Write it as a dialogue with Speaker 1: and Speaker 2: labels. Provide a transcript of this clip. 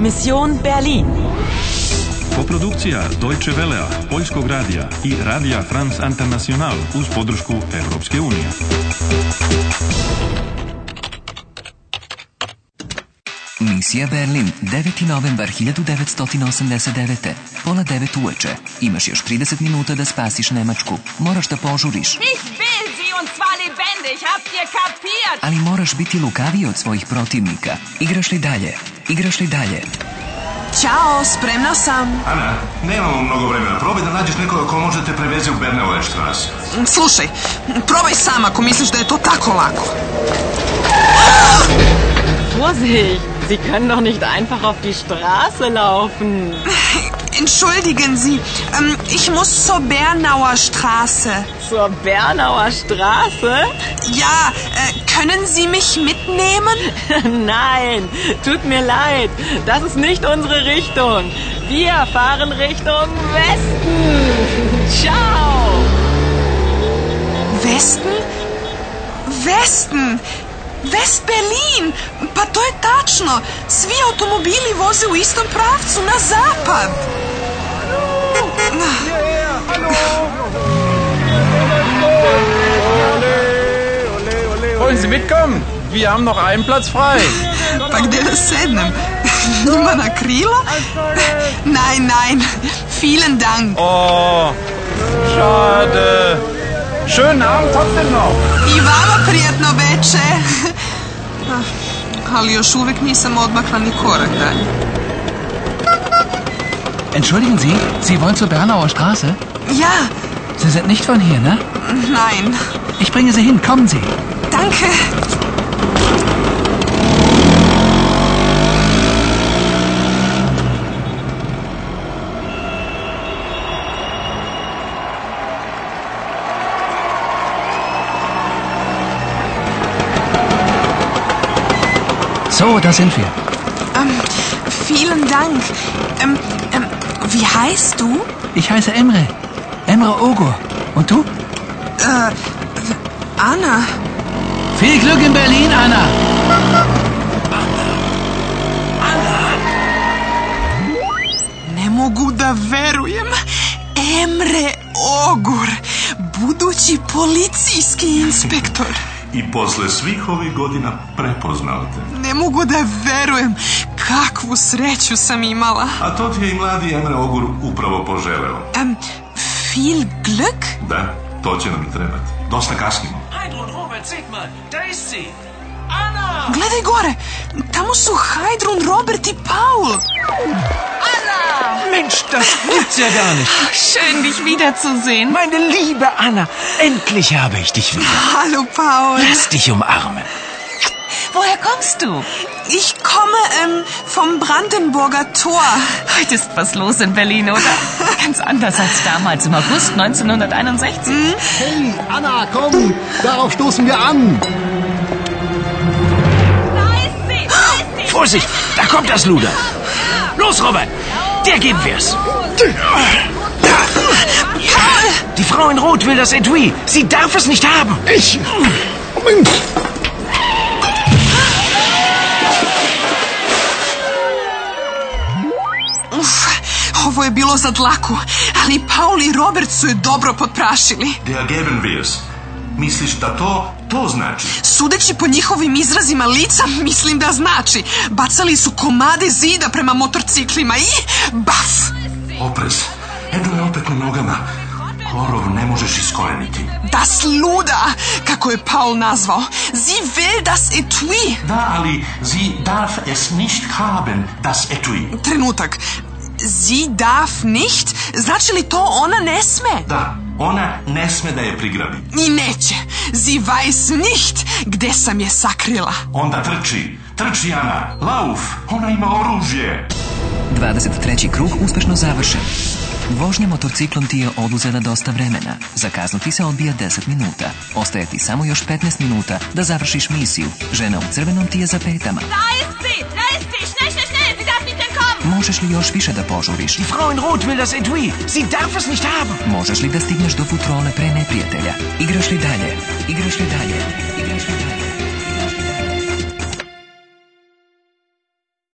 Speaker 1: Mission Berlin.
Speaker 2: Koprodukcija Deutsche Velea, Poljskog radija i Radija France International uz podršku Europske unije.
Speaker 3: Misija Berlin, 9. novembar 1989. Pola devet uveče. Imaš još 30 minuta da spasiš Nemačku. Moraš da požuriš.
Speaker 4: Ich will sie und zwar lebendig. Habt ihr kapiert?
Speaker 3: Ali moraš biti lukaviji od svojih protivnika. Igraš li dalje? Igraš li dalje?
Speaker 1: Ćao, spremna sam.
Speaker 5: Ana, nemamo mnogo vremena. Probaj da nađeš nekoga ko može da te preveze u Bernauer Strasse.
Speaker 6: Slušaj, probaj sam ako misliš da je to tako lako.
Speaker 7: Vorsicht, Sie können doch nicht einfach auf die Straße laufen.
Speaker 6: Entschuldigen Sie, ähm, ich muss zur Bernauer Straße.
Speaker 7: Zur Bernauer Straße?
Speaker 6: Ja, äh, können Sie mich mitnehmen?
Speaker 7: Nein, tut mir leid, das ist nicht unsere Richtung. Wir fahren Richtung Westen. Ciao.
Speaker 6: Westen? Westen! West-Berlin! Pa to je tačno! Svi automobili voze u istom pravcu, na zapad!
Speaker 8: Wollen Sie mitkommen? Wir haben noch einen Platz frei.
Speaker 6: Pa gdje da sednem? Njima na krilo? Nein, nein, vielen Dank.
Speaker 8: Oh, schade. Schönen Abend trotzdem noch.
Speaker 6: I vama prijatno veče. Ah, Ali još uvijek nisam odmakla ni korak dalje.
Speaker 3: Entschuldigen Sie, Sie wollen zur Bernauer Straße?
Speaker 6: Ja,
Speaker 3: Sie sind nicht von hier, ne?
Speaker 6: nein,
Speaker 3: Ich bringe Sie hin, kommen Sie.
Speaker 6: danke.
Speaker 3: So, da sind wir.
Speaker 6: Ähm, vielen Dank. Ähm, ähm, wie heißt du?
Speaker 3: Ich heiße Emre. Emre Ogur. Und du?
Speaker 6: Anna.
Speaker 3: Viel Glück in Berlin, Anna.
Speaker 6: Ne mogu da verujem. Emre Ogur, budući policijski inspektor.
Speaker 5: I posle svih ovih godina prepoznao te.
Speaker 6: Ne mogu da verujem kakvu sreću sam imala.
Speaker 5: A to ti je i mladi Emre Ogur upravo poželeo.
Speaker 6: Em, viel Glück?
Speaker 5: Da, to će nam i trebati. Dosta kasnimo.
Speaker 6: Gledaj gore, tamo su Heidrun, Robert i Paul.
Speaker 9: Mensch, das gibt's ja gar nicht.
Speaker 6: Ah, Schön, dich wiederzusehen.
Speaker 9: Meine liebe Anna, endlich habe ich dich wieder.
Speaker 6: Hallo, Paul.
Speaker 9: Lass dich umarmen.
Speaker 6: Woher kommst du? Ich komme ähm, vom Brandenburger Tor.
Speaker 4: Heute ist was los in Berlin, oder? Ganz anders als damals im August 1961.
Speaker 10: Hey, Anna, komm! Darauf stoßen wir an!
Speaker 4: Da ist sie, da ist sie.
Speaker 9: Vorsicht, da kommt das Luder. Los, Robert, dir geben wir's. Die Frau in Rot will das Etui. Sie darf es nicht haben.
Speaker 10: Ich!
Speaker 6: Uf, ovo je bilo za dlaku, ali Paul i Robert su je dobro potprašili.
Speaker 5: Der geben wir's. Misliš da to, to znači?
Speaker 6: Sudeći po njihovim izrazima lica, mislim da znači. Bacali su komade zida prema motorciklima i baf!
Speaker 5: Oprez. Edo je opet na nogama. Korov ne možeš iskoreniti.
Speaker 6: Das luda, kako je Paul nazvao. Sie will das etui.
Speaker 5: Da, ali sie darf es nicht haben, das etui.
Speaker 6: Trenutak. Sie darf nicht? Znači li to ona ne sme?
Speaker 5: Da, ona ne sme da je prigrabi.
Speaker 6: I neće. Sie weiß nicht gde sam je sakrila.
Speaker 5: Onda trči, trči Ana, lauf, ona ima oružje.
Speaker 3: 23. krug uspešno završen. Vožnja motociklom ti je oduzela dosta vremena. Za kaznu ti se odbija 10 minuta. Ostaje ti samo još 15 minuta da završiš misiju. Žena u crvenom ti je za petama.
Speaker 4: Da ist sie, da ist sie. Schnell, schnell, schnell. Sie darf nicht entkommen.
Speaker 3: Možeš li još više da požuriš?
Speaker 9: Die Frau in Rot will das Etui. Sie darf es nicht haben.
Speaker 3: Možeš li da stigneš do futrole pre neprijatelja? Igraš li dalje? Igraš li dalje? Igraš li dalje?